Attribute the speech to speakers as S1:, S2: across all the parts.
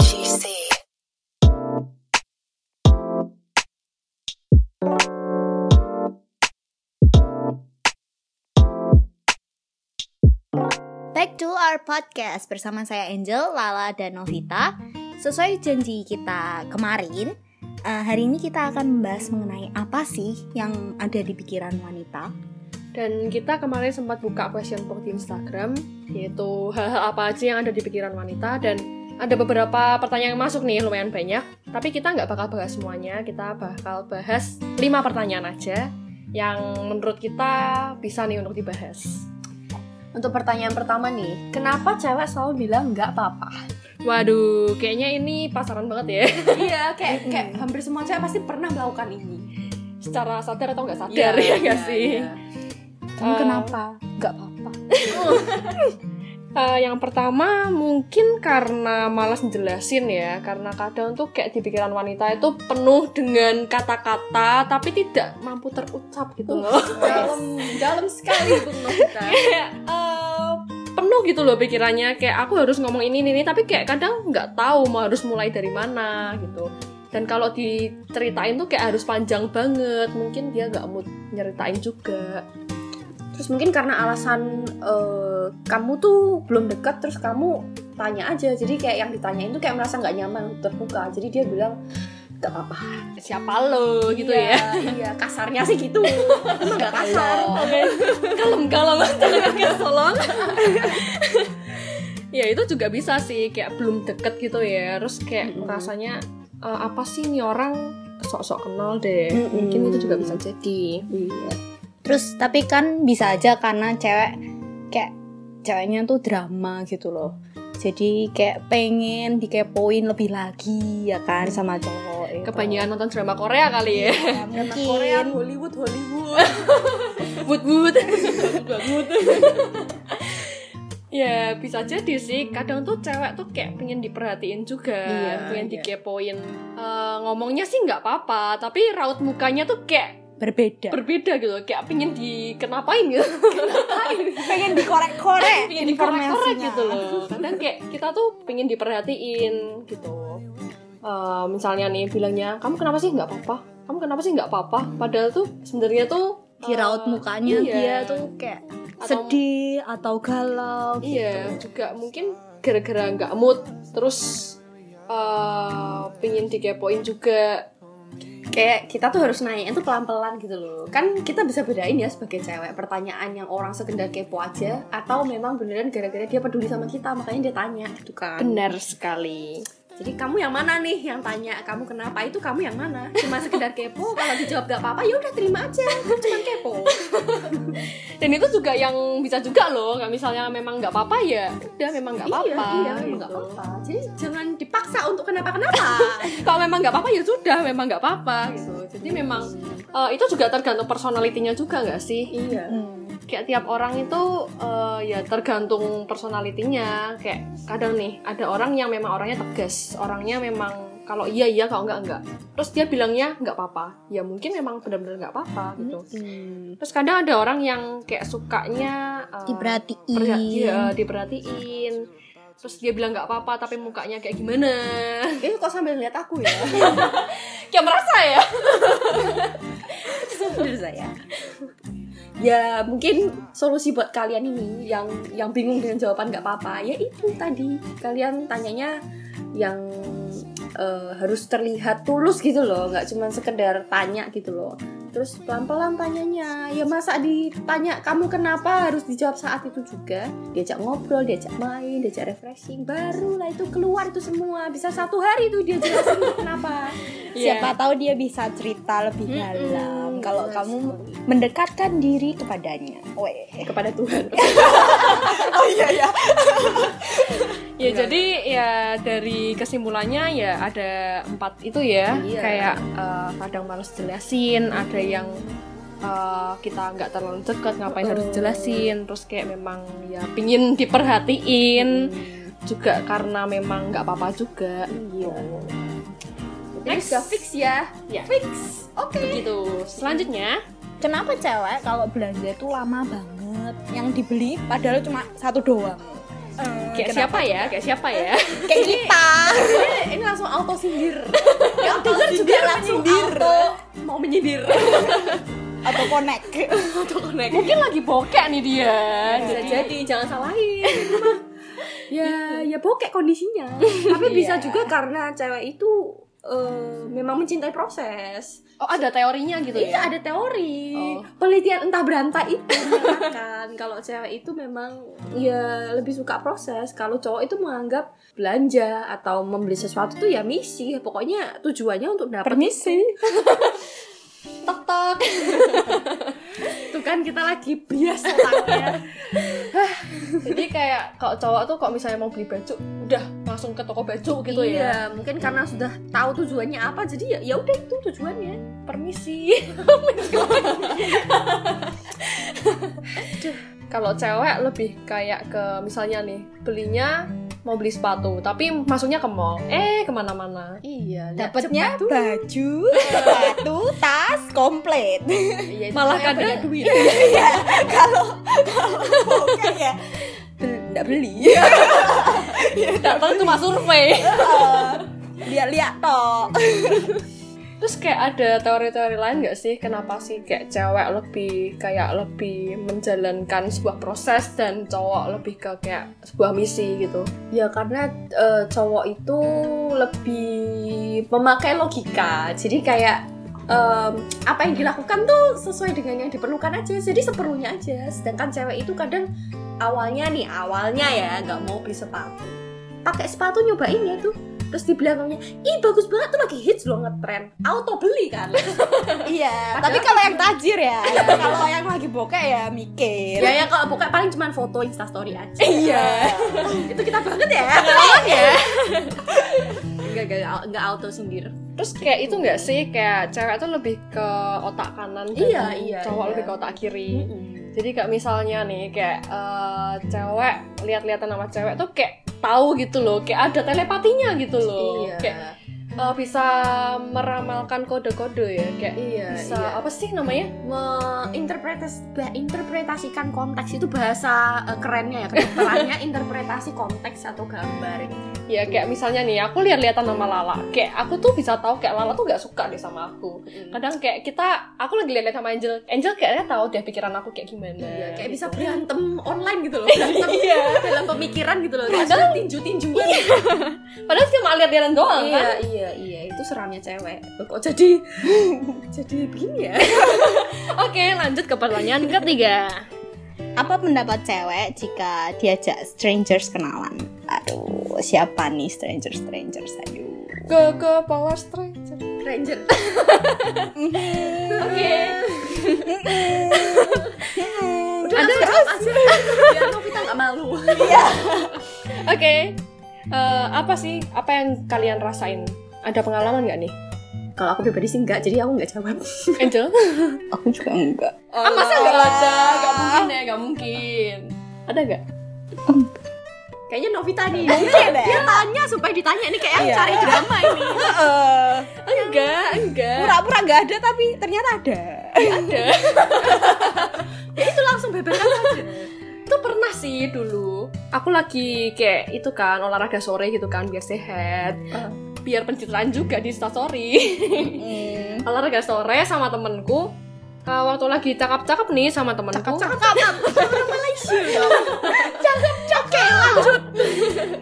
S1: Iya,
S2: back to our podcast bersama saya Angel, Lala, dan Novita. Sesuai janji kita kemarin, eh, hari ini kita akan membahas mengenai apa sih yang ada di pikiran wanita.
S3: Dan kita kemarin sempat buka question box di Instagram, yaitu hal-hal apa aja yang ada di pikiran wanita dan ada beberapa pertanyaan yang masuk nih lumayan banyak. Tapi kita nggak bakal bahas semuanya, kita bakal bahas 5 pertanyaan aja yang menurut kita bisa nih untuk dibahas.
S1: Untuk pertanyaan pertama nih, kenapa cewek selalu bilang nggak apa-apa?
S3: Waduh, kayaknya ini pasaran banget ya.
S1: iya, kayak kayak hampir semua cewek pasti pernah melakukan ini.
S3: Secara sadar atau nggak sadar ya nggak sih?
S1: iya.
S2: Kamu
S3: Eh,
S2: kenapa? Gak apa-apa.
S3: Eh, yang pertama mungkin karena malas jelasin ya karena kadang tuh kayak di pikiran wanita itu penuh dengan kata-kata tapi tidak mampu terucap
S2: Uh.
S3: gitu loh
S1: Dalam dalam sekali Bung Novita.
S3: kayak eh, penuh gitu loh pikirannya kayak aku harus ngomong ini ini ini, tapi kayak kadang nggak tahu mau harus mulai dari mana gitu dan kalau diceritain tuh kayak harus panjang banget mungkin dia nggak mau nyeritain juga
S1: Terus mungkin karena alasan eh, kamu tuh belum dekat terus kamu tanya aja. Jadi kayak yang ditanyain tuh kayak merasa nggak nyaman untuk terbuka. Jadi dia bilang nggak apa-apa
S3: siapa lo gitu ya
S1: Iya, Iya, kasarnya sih gitu. Emang nggak kasar.
S3: Oke, kalem kalem tenaga tolong. ya itu juga bisa sih kayak belum deket gitu ya. Terus kayak
S1: Mm-mm.
S3: rasanya eh, apa sih nih orang sok-sok kenal deh.
S1: Mm-mm.
S3: Mungkin itu juga bisa jadi.
S1: Iya.
S2: Terus tapi kan bisa aja karena cewek kayak ceweknya tuh drama gitu loh. Jadi kayak pengen dikepoin lebih lagi ya kan sama cowok. itu.
S3: Kebanyakan nonton drama Korea kali ya.
S1: Karena
S2: Mungkin.
S1: Korea, Hollywood, Hollywood.
S3: But but Ya bisa jadi sih kadang tuh cewek tuh kayak pengen diperhatiin juga,
S1: Iya,
S3: pengen
S1: iya.
S3: dikepoin. Eh, ngomongnya sih nggak apa-apa, tapi raut mukanya tuh kayak
S2: berbeda.
S3: berbeda gitu kayak pengen dikenapain gitu
S2: pengen dikorek-korek
S3: pengen dikorek-korek gitu loh kadang kayak kita tuh pengen diperhatiin gitu Eh, misalnya nih bilangnya kamu kenapa sih nggak apa-apa kamu kenapa sih nggak apa-apa padahal tuh sebenarnya tuh
S2: Di
S3: eh,
S2: raut mukanya
S3: iya.
S2: dia tuh kayak
S3: Atau-
S2: sedih atau galau gitu.
S3: iya juga mungkin gara-gara nggak mood terus eh pengen dikepoin juga
S1: kayak kita tuh harus nanya itu pelan-pelan gitu loh kan kita bisa bedain ya sebagai cewek pertanyaan yang orang sekedar kepo aja atau memang beneran gara-gara dia peduli sama kita makanya dia tanya gitu kan
S3: benar sekali
S1: jadi kamu yang mana nih yang tanya kamu kenapa itu kamu yang mana cuma sekedar kepo kalau dijawab gak apa-apa ya udah terima aja cuma kepo
S3: dan itu juga yang bisa juga loh nggak misalnya memang nggak apa-apa ya udah memang nggak apa-apa
S1: iya, iya
S3: gitu.
S1: nggak apa-apa jadi jangan dipaksa untuk kenapa-kenapa
S3: kalau memang nggak apa-apa ya sudah memang nggak apa-apa gitu jadi memang eh, itu juga tergantung personalitinya juga nggak sih
S1: iya
S2: Hmm.
S3: kayak tiap orang itu eh, ya tergantung personalitinya kayak kadang nih ada orang yang memang orangnya tegas orangnya memang kalau iya iya kalau enggak enggak terus dia bilangnya nggak apa-apa ya mungkin memang benar-benar nggak apa-apa gitu terus kadang ada orang yang kayak sukanya eh,
S2: Diperhatiin.
S3: perha- iya, diperhatiin terus dia bilang nggak apa-apa tapi mukanya kayak gimana
S1: itu kok sambil lihat aku ya
S3: kayak merasa ya
S1: Bener saya. Ya mungkin solusi buat kalian ini yang yang bingung dengan jawaban nggak apa-apa ya itu tadi kalian tanyanya yang eh, harus terlihat tulus gitu loh nggak cuma sekedar tanya gitu loh terus pelan-pelan tanyanya ya masa ditanya kamu kenapa harus dijawab saat itu juga diajak ngobrol diajak main diajak refreshing barulah itu keluar itu semua bisa satu hari tuh dia jelasin kenapa
S2: Siapa
S1: Iya.
S2: tahu dia bisa cerita lebih
S1: Hmm.
S2: dalam kalau
S1: benar
S2: kamu mendekatkan diri kepadanya. Weh.
S1: kepada Tuhan Oh, iya,
S3: Ya jadi ya dari kesimpulannya ya ada empat itu ya
S1: Iya.
S3: kayak eh, kadang males jelasin, ada yang eh, kita nggak terlalu dekat ngapain harus jelasin, terus kayak memang ya pingin diperhatiin juga karena memang nggak apa-apa juga.
S1: Hmm. Iya.
S3: Next.
S1: Next udah fix ya.
S3: Ya.
S1: Fix. Oke.
S3: Begitu. Selanjutnya
S2: Kenapa cewek kalau belanja tuh lama banget? Yang dibeli padahal cuma satu doang.
S1: Eh,
S3: kayak siapa ya? Kayak siapa ya?
S2: Kayak kita.
S1: Ini, ini langsung auto Ya, sindir. Yang denger juga langsung auto mau menyindir.
S2: atau connect
S3: Mungkin lagi bokek nih dia.
S1: bisa
S3: Jadi-
S1: jadi jangan salahin ya ya bokek kondisinya tapi
S2: Iya.
S1: bisa juga karena cewek itu eh, memang mencintai proses
S3: oh ada teorinya gitu
S1: iya
S3: ya.
S1: ada teori
S3: Oh.
S1: penelitian entah berantah itu kan kalau cewek itu memang ya lebih suka proses kalau cowok itu menganggap belanja atau membeli sesuatu tuh ya misi pokoknya tujuannya untuk dapat
S2: permisi
S3: Tok tok.
S1: itu kan kita lagi bias otaknya.
S3: Jadi kayak kalau cowok tuh kalau misalnya mau beli baju, udah langsung ke toko baju gitu ya.
S1: iya mungkin karena sudah tahu tujuannya apa jadi ya ya udah itu tujuannya
S3: Permisi. Aduh. kalau cewek lebih kayak ke misalnya nih belinya mau beli sepatu tapi masuknya ke mall eh kemana-mana
S1: Iya, lihat cepat
S2: dapatnya
S1: tuh.
S2: baju sepatu tas komplit
S3: Iya, itu
S1: malah
S3: saya
S1: kadang
S3: punya
S1: duit.
S2: kalau kalau bukan ya bel- nggak beli
S3: datang cuma survei
S2: Eh, lihat-lihat toh
S3: terus kayak ada teori-teori lain nggak sih kenapa sih kayak cewek lebih kayak lebih menjalankan sebuah proses dan cowok lebih ke kayak sebuah misi gitu
S1: Ya karena eh, cowok itu lebih memakai logika. Jadi kayak em, apa yang dilakukan tuh sesuai dengan yang diperlukan aja. Jadi seperlunya aja. Sedangkan cewek itu kadang awalnya nih, awalnya ya nggak mau beli sepatu. Pakai sepatu nyobain ya tuh. Terus di belakangnya, ih bagus banget tuh lagi hits loh ngetrend. Auto beli kan. Padahal-
S2: iya tapi kalau yang
S3: kan
S2: tajir ya
S3: Iya.
S2: kalau yang lagi bokeh ya mikir
S1: ya ya kalau buka paling cuman foto instastory aja.
S2: iya
S1: itu kita banget ya.
S3: ya
S1: Enggak enggak auto sendiri.
S3: terus kayak itu nggak sih kayak cewek tuh lebih ke otak kanan dan
S1: Iya, iya,
S3: cowok
S1: iya.
S3: lebih ke otak kiri jadi kayak misalnya nih kayak eh, cewek lihat-lihatan sama cewek tuh kayak tahu gitu loh kayak ada telepatinya gitu loh
S1: Iya.
S3: kayak eh, bisa meramalkan kode-kode ya kayak
S1: Iya,
S3: bisa
S1: iya.
S3: apa sih namanya
S1: menginterpretasikan konteks itu bahasa eh, kerennya ya kedokterannya interpretasi konteks atau gambar gitu.
S3: ya kayak misalnya nih aku lihat-lihatan sama Lala kayak aku tuh bisa tahu kayak Lala tuh nggak suka deh sama aku
S1: Mm. Kan
S3: kadang kayak kita aku lagi lihat sama Angel Angel kayaknya tahu deh pikiran aku kayak gimana
S1: Iya, kayak
S3: gitu.
S1: bisa berantem online gitu loh berantem dalam pemikiran gitu loh padahal iya, tinju tinjuan
S3: Iya. padahal cuma lihat-lihatan doang kan
S1: iya iya iya itu seramnya cewek kok jadi jadi begini ya
S3: Oke, lanjut ke pertanyaan ketiga.
S2: apa pendapat cewek jika diajak strangers kenalan? Aduh, siapa nih stranger strangers ayo.
S3: Ke ke power stranger.
S1: ranger
S2: Mm-hmm.
S3: Oke.
S1: udah
S3: Ada
S1: ada jawab aja biar Novita nggak malu
S3: Oke. Eh, apa sih? Apa yang kalian rasain? Ada pengalaman nggak nih,
S1: kalau aku pribadi sih enggak jadi aku nggak jawab
S3: Angel?
S2: Aku juga enggak.
S3: ah, masa nggak ada? Nggak mungkin ya, nggak mungkin. Ada nggak?
S1: kayaknya Novita nih
S2: Mungkin ya.
S1: dia tanya supaya ditanya ini kayak
S2: Iya.
S1: cari drama ini
S2: Heeh.
S3: Enggak, enggak.
S2: Pura-pura enggak ada tapi ternyata ada.
S1: itu langsung beberkan aja
S3: Itu pernah sih dulu. Aku lagi kayak itu kan olahraga sore gitu kan biar sehat.
S1: Ah.
S3: Biar pencitraan juga di story.
S2: Hmm.
S3: olahraga sore sama temenku. Eh, waktu lagi cakap-cakap nih sama temenku.
S2: Oke, lanjut.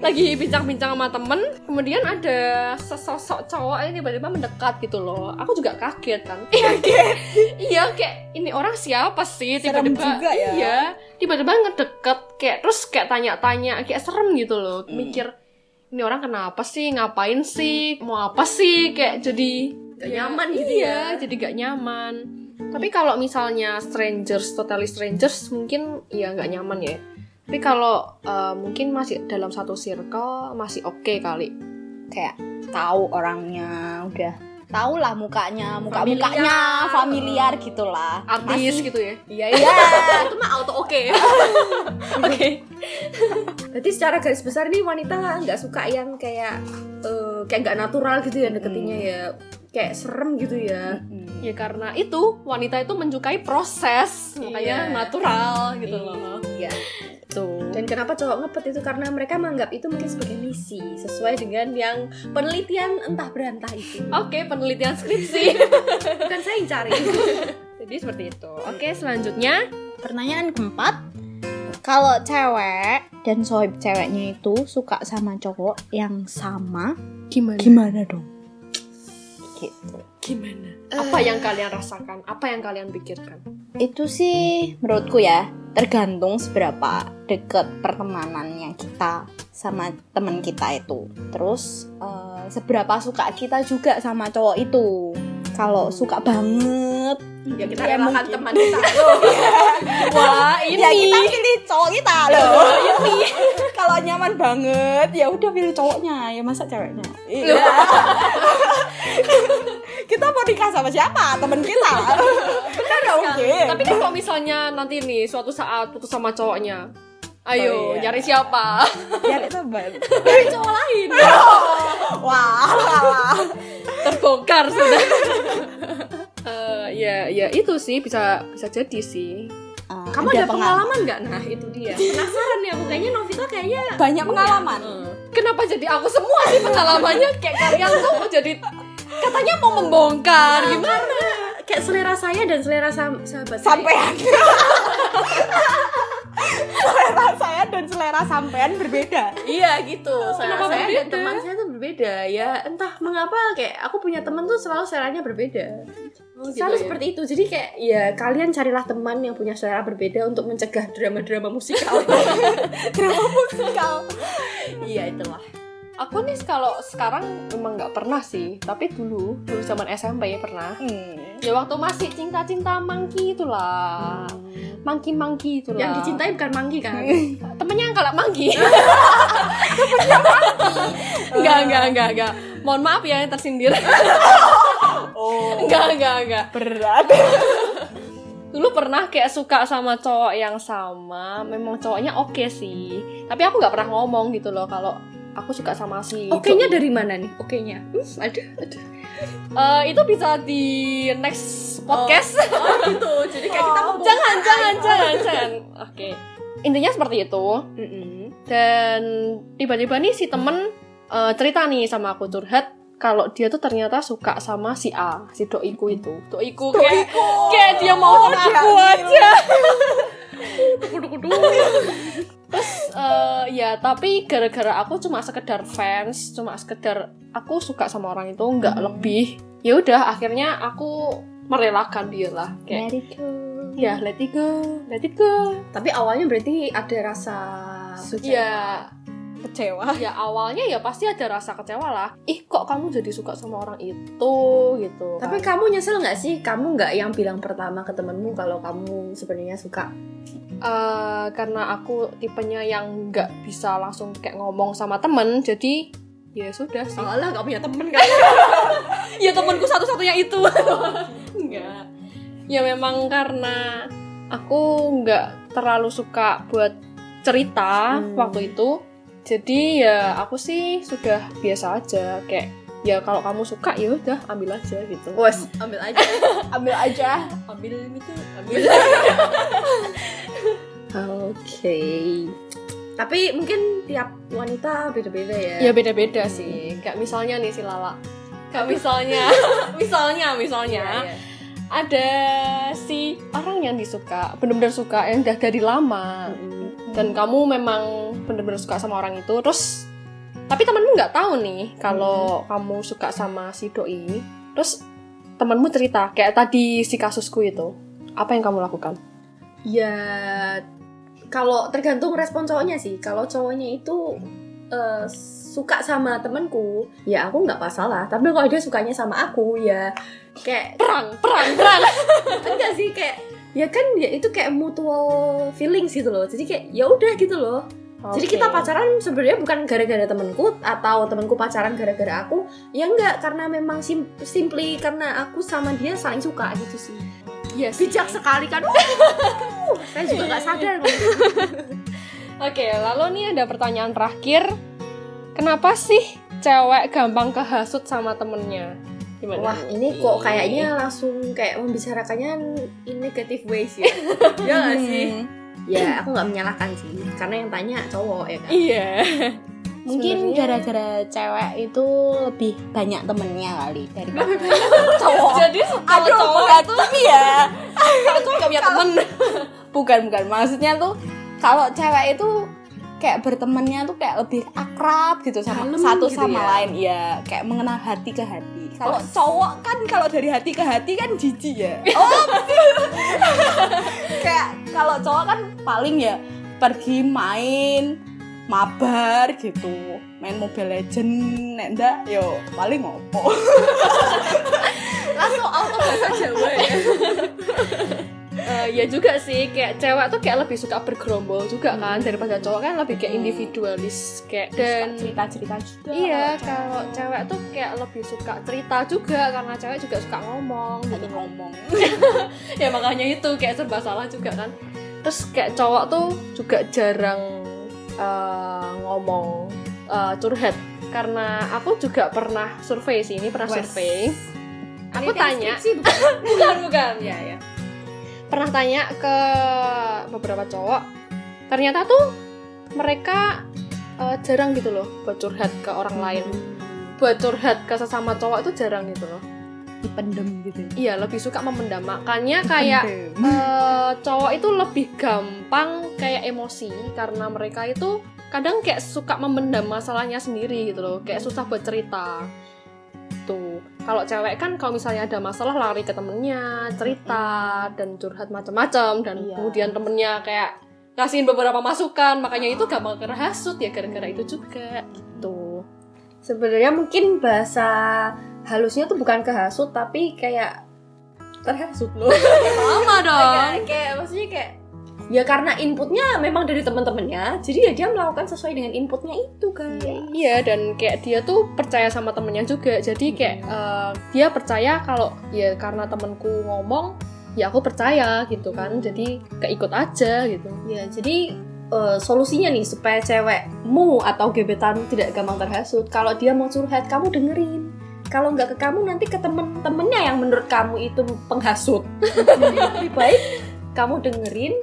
S3: lagi bincang-bincang sama temen kemudian ada sesosok cowok ini tiba-tiba mendekat gitu loh aku juga kaget kan iya kayak ini orang siapa sih
S2: Serem
S3: tiba-tiba
S2: juga ya.
S3: iya tiba-tiba ngedeket kayak terus kayak tanya-tanya kayak serem gitu loh
S2: Hmm.
S3: mikir ini orang kenapa sih ngapain sih mau apa sih kayak jadi
S1: Gak nyaman gitu
S3: iya,
S1: ya.
S3: jadi gak nyaman tapi kalau misalnya strangers totally strangers mungkin ya nggak nyaman ya tapi kalau eh, mungkin masih dalam satu circle masih oke kali
S2: Kayak tahu orangnya udah tahu lah mukanya, muka-mukanya
S1: Familiar.
S2: familiar gitulah.
S3: artis gitu ya
S1: iya
S2: Iya.
S1: itu mah auto oke ya
S3: oke
S1: berarti secara garis besar nih wanita nggak suka yang kayak eh, kayak nggak natural gitu ya deketinnya ya kayak serem gitu ya
S2: Mm-mm.
S3: ya karena itu wanita itu menyukai proses makanya
S1: Iya.
S3: Ya, natural gitu loh
S2: Iya.
S3: tuh
S1: dan kenapa cowok ngepet itu karena mereka menganggap itu mungkin sebagai misi sesuai dengan yang penelitian entah berantah itu
S3: oke penelitian skripsi
S1: bukan saya yang cari
S3: Jadi seperti itu. Oke, selanjutnya
S2: Pertanyaan keempat, kalau cewek dan sohib ceweknya itu suka sama cowok yang sama,
S3: gimana?
S2: gimana dong? Gitu.
S3: Gimana? Apa yang kalian rasakan? Apa yang kalian pikirkan?
S2: Itu sih menurutku ya, tergantung seberapa deket pertemanannya kita sama teman kita itu. Terus eh, seberapa suka kita juga sama cowok itu. Kalau suka banget,
S1: ya kita
S2: Ya,
S1: relakan
S2: mungkin.
S1: teman kita loh
S2: Wah, ini ya kita pilih cowok kita loh. Kalau nyaman banget, ya udah pilih cowoknya, ya masa ceweknya. Iya. kita mau nikah sama siapa? Temen kita. Benar dong,
S1: Eh.
S2: mungkin.
S3: Tapi kan kalau misalnya nanti nih suatu saat putus sama cowoknya, ayo
S2: Oh, iya.
S3: nyari siapa?
S2: ya itu banget.
S3: Nyari cowok lain. ya?
S2: Wah.
S3: Terbongkar sudah. Eh, ya ya itu sih bisa bisa jadi sih.
S2: Eh,
S3: Kamu ada, pengalaman nggak? Nah itu dia. Penasaran nih aku kayaknya Novita kayaknya.
S2: Banyak pengalaman.
S3: Eh, Kenapa jadi aku semua sih pengalamannya kayak kalian tuh jadi katanya mau membongkar gimana?
S1: kayak selera saya dan selera sam- sahabat saya.
S2: Sampean. selera saya dan selera sampean berbeda.
S1: iya gitu selera
S3: Kenapa
S1: saya dan
S3: berbeda?
S1: teman saya tuh berbeda ya entah mengapa kayak aku punya teman tuh selalu seleranya berbeda selalu seperti itu jadi kayak ya kalian carilah teman yang punya selera berbeda untuk mencegah drama-drama musikal
S2: Drama musikal.
S1: iya itulah
S3: Aku nih kalau sekarang emang nggak pernah sih, tapi dulu dulu zaman SMP ya pernah.
S2: Hmm.
S3: Ya waktu masih cinta-cinta mangki itulah. Mangki-mangki itulah.
S1: yang dicintai bukan manggi kan
S3: Hmm. temennya yang kalah mangki. temennya mangki. Enggak, enggak, enggak, enggak. Mohon maaf ya yang tersindir.
S2: Oh,
S3: enggak, enggak, enggak.
S2: berat.
S3: Dulu pernah kayak suka sama cowok yang sama, memang cowoknya oke sih. Tapi aku nggak pernah ngomong gitu loh kalau aku suka sama si
S1: Oke-nya dari mana nih? Oke-nya. Hmm, ada, ada.
S3: Eh, itu bisa di next podcast.
S1: Oh gitu. Jadi kayak kita mau
S3: jangan, jangan, jangan, jangan. Oke. Intinya seperti itu. Dan tiba-tiba nih si temen eh, cerita nih sama aku curhat kalau dia tuh ternyata suka sama si A, si doiku itu. Doiku kayak kayak
S2: Oh,
S3: dia mau sama aku
S2: iya.
S3: aja. Terus eh, ya tapi gara-gara aku cuma sekedar fans, cuma sekedar aku suka sama orang itu nggak lebih. Ya udah akhirnya aku merelakan dia lah kayak ya let it go, let it go.
S1: Tapi awalnya berarti ada rasa Iya.
S3: Ya
S2: Kecewa.
S3: ya awalnya ya pasti ada rasa kecewa lah. Ih kok kamu jadi suka sama orang itu gitu.
S1: Tapi
S3: kan.
S1: kamu nyesel nggak sih? Kamu nggak yang bilang pertama ke temenmu kalau kamu sebenarnya suka?
S3: Eh, karena aku tipenya yang nggak bisa langsung kayak ngomong sama temen jadi ya sudah sih.
S1: Soalnya nggak punya temen kan?
S3: ya temanku satu-satunya itu enggak ya memang karena aku nggak terlalu suka buat cerita
S1: Hmm.
S3: waktu itu jadi ya aku sih sudah biasa aja kayak ya kalau kamu suka ya udah ambil aja gitu
S1: Wes, ambil aja.
S2: Ambil aja.
S3: ambil itu ambil
S1: Oke. Tapi mungkin tiap wanita beda-beda ya.
S3: ya beda-beda sih kayak misalnya nih si Lala kayak misalnya misalnya misalnya
S1: Iya.
S3: ada si orang yang disuka bener-bener suka yang udah dari lama dan kamu memang bener-bener suka sama orang itu terus tapi temanmu nggak tahu nih kalau kamu suka sama si doi terus temanmu cerita kayak tadi si kasusku itu apa yang kamu lakukan
S1: Ya kalau tergantung respon cowoknya sih. Kalau cowoknya itu eh, suka sama temenku, ya aku nggak masalah. Tapi kalau dia sukanya sama aku, ya kayak
S3: perang perang perang
S1: enggak sih kayak ya kan ya itu kayak mutual feelings gitu loh. Jadi kayak ya udah gitu loh. Jadi kita pacaran sebenarnya bukan gara-gara temenku atau temenku pacaran gara-gara aku. Ya enggak, karena memang sim- simply karena aku sama dia saling suka gitu sih.
S3: Iya sih.
S1: Bijak sekali kan. Saya juga nggak sadar loh.
S3: Oke, lalu nih ada pertanyaan terakhir. Kenapa sih cewek gampang kehasut sama temennya? Gimana?
S1: Wah, ini kok kayaknya langsung kayak membicarakannya in negative ways ya.
S2: Iya
S1: ya
S2: Hmm.
S1: nggak sih? Ya, aku nggak menyalahkan sih. Karena yang tanya cowok ya kan.
S3: Iya.
S2: Mungkin
S3: Sebenarnya-
S2: gara-gara cewek itu lebih banyak temennya kali dari
S1: cowok jadi
S2: Kalau cowok tapi ya
S3: Kalau cowok nggak punya temen
S2: bukan bukan maksudnya tuh kalau cewek itu kayak bertemannya tuh kayak lebih akrab gitu sama
S1: Dalam
S2: satu
S1: gitu
S2: sama
S1: ya.
S2: lain ya kayak mengenal hati ke hati kalau cowok kan kalau dari hati ke hati kan jijik ya oh kayak kalau cowok kan paling ya pergi main mabar gitu main mobile legend nek ndak yo paling ngopo
S1: langsung auto bahasa Jawa ya
S3: Eh, ya juga sih kayak cewek tuh kayak lebih suka bergerombol juga kan daripada cowok kan lebih kayak
S2: Hmm.
S3: individualis kayak dan
S2: cerita cerita juga
S3: iya kalau cewek tuh kayak lebih suka cerita juga karena cewek juga suka ngomong gitu.
S2: tadi ngomong
S3: ya makanya itu kayak serba salah juga kan terus kayak cowok tuh juga jarang eh, ngomong eh, curhat karena aku juga pernah survei sih ini pernah
S2: Wes. kan
S3: survei aku
S1: Penelitian
S3: tanya
S1: skripsi bukan
S3: bukan bukan
S2: Iya,
S1: ya ya
S3: pernah tanya ke beberapa cowok ternyata tuh mereka eh, jarang gitu loh buat curhat ke orang lain buat curhat ke sesama cowok itu jarang gitu loh
S2: dipendem gitu
S3: iya lebih suka memendam makanya kayak
S2: Pendem.
S3: eh, cowok itu lebih gampang kayak emosi karena mereka itu kadang kayak suka memendam masalahnya sendiri gitu loh kayak susah buat cerita tuh kalau cewek kan kalau misalnya ada masalah lari ke temennya cerita dan curhat macam-macam dan
S2: Iya.
S3: kemudian temennya kayak kasihin beberapa masukan makanya itu gampang kerhasut ya gara-gara itu juga tuh
S1: sebenarnya mungkin bahasa halusnya tuh bukan kehasut tapi kayak terhasut loh
S3: sama dong
S1: kayak, kayak maksudnya kayak ya karena inputnya memang dari teman-temannya jadi ya dia melakukan sesuai dengan inputnya itu kan
S3: Iya dan kayak dia tuh percaya sama temennya juga jadi kayak eh, dia percaya kalau ya karena temenku ngomong ya aku percaya gitu kan jadi keikut aja gitu
S1: ya jadi eh, solusinya nih supaya cewekmu atau gebetanmu tidak gampang terhasut kalau dia mau curhat kamu dengerin kalau nggak ke kamu nanti ke temen-temennya yang menurut kamu itu penghasut jadi lebih baik kamu dengerin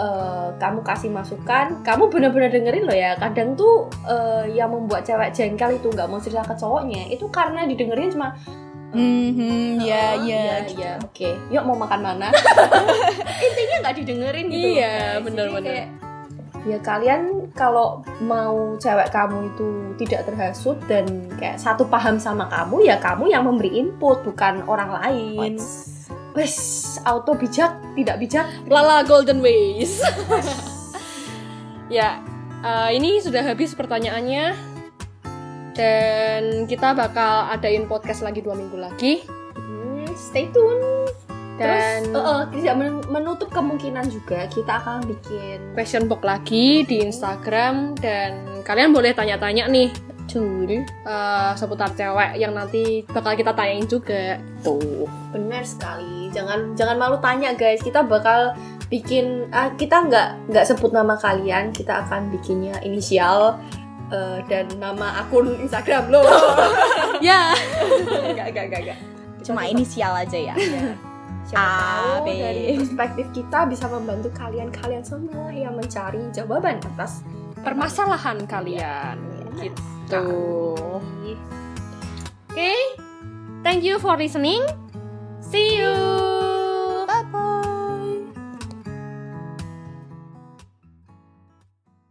S1: eh, kamu kasih masukan kamu benar-benar dengerin loh ya kadang tuh eh, yang membuat cewek jengkel itu nggak mau cerita ke cowoknya itu karena didengerin cuma
S2: Hmm, ya,
S1: Oh,
S2: ya.
S1: iya, iya, oke. Yuk mau makan mana? Intinya nggak didengerin gitu.
S3: Iya,
S1: guys.
S3: bener,
S1: Jadi
S3: bener.
S1: kayak, Ya kalian kalau mau cewek kamu itu tidak terhasut dan kayak satu paham sama kamu ya kamu yang memberi input bukan orang lain. Wes, auto bijak, tidak bijak.
S3: Lala Golden Ways ya eh, ini sudah habis pertanyaannya dan kita bakal adain podcast lagi dua minggu lagi
S1: Hmm, stay tune.
S3: dan
S1: Terus eh, eh, tidak men- menutup kemungkinan juga kita akan bikin
S3: question box lagi di Instagram dan kalian boleh tanya-tanya nih
S2: Jul.
S3: eh, seputar cewek yang nanti bakal kita tanyain juga.
S2: Tuh.
S1: Benar sekali. Jangan jangan malu tanya guys. Kita bakal bikin ah, kita nggak nggak sebut nama kalian. Kita akan bikinnya inisial eh, dan nama akun Instagram lo.
S3: ya,
S1: Enggak enggak enggak enggak.
S2: Cuma inisial aja ya. A,
S1: Siapa tahu
S2: B.
S1: dari perspektif kita bisa membantu kalian-kalian semua yang mencari jawaban atas
S3: permasalahan kalian gitu. Oke. Thank you for listening. See you.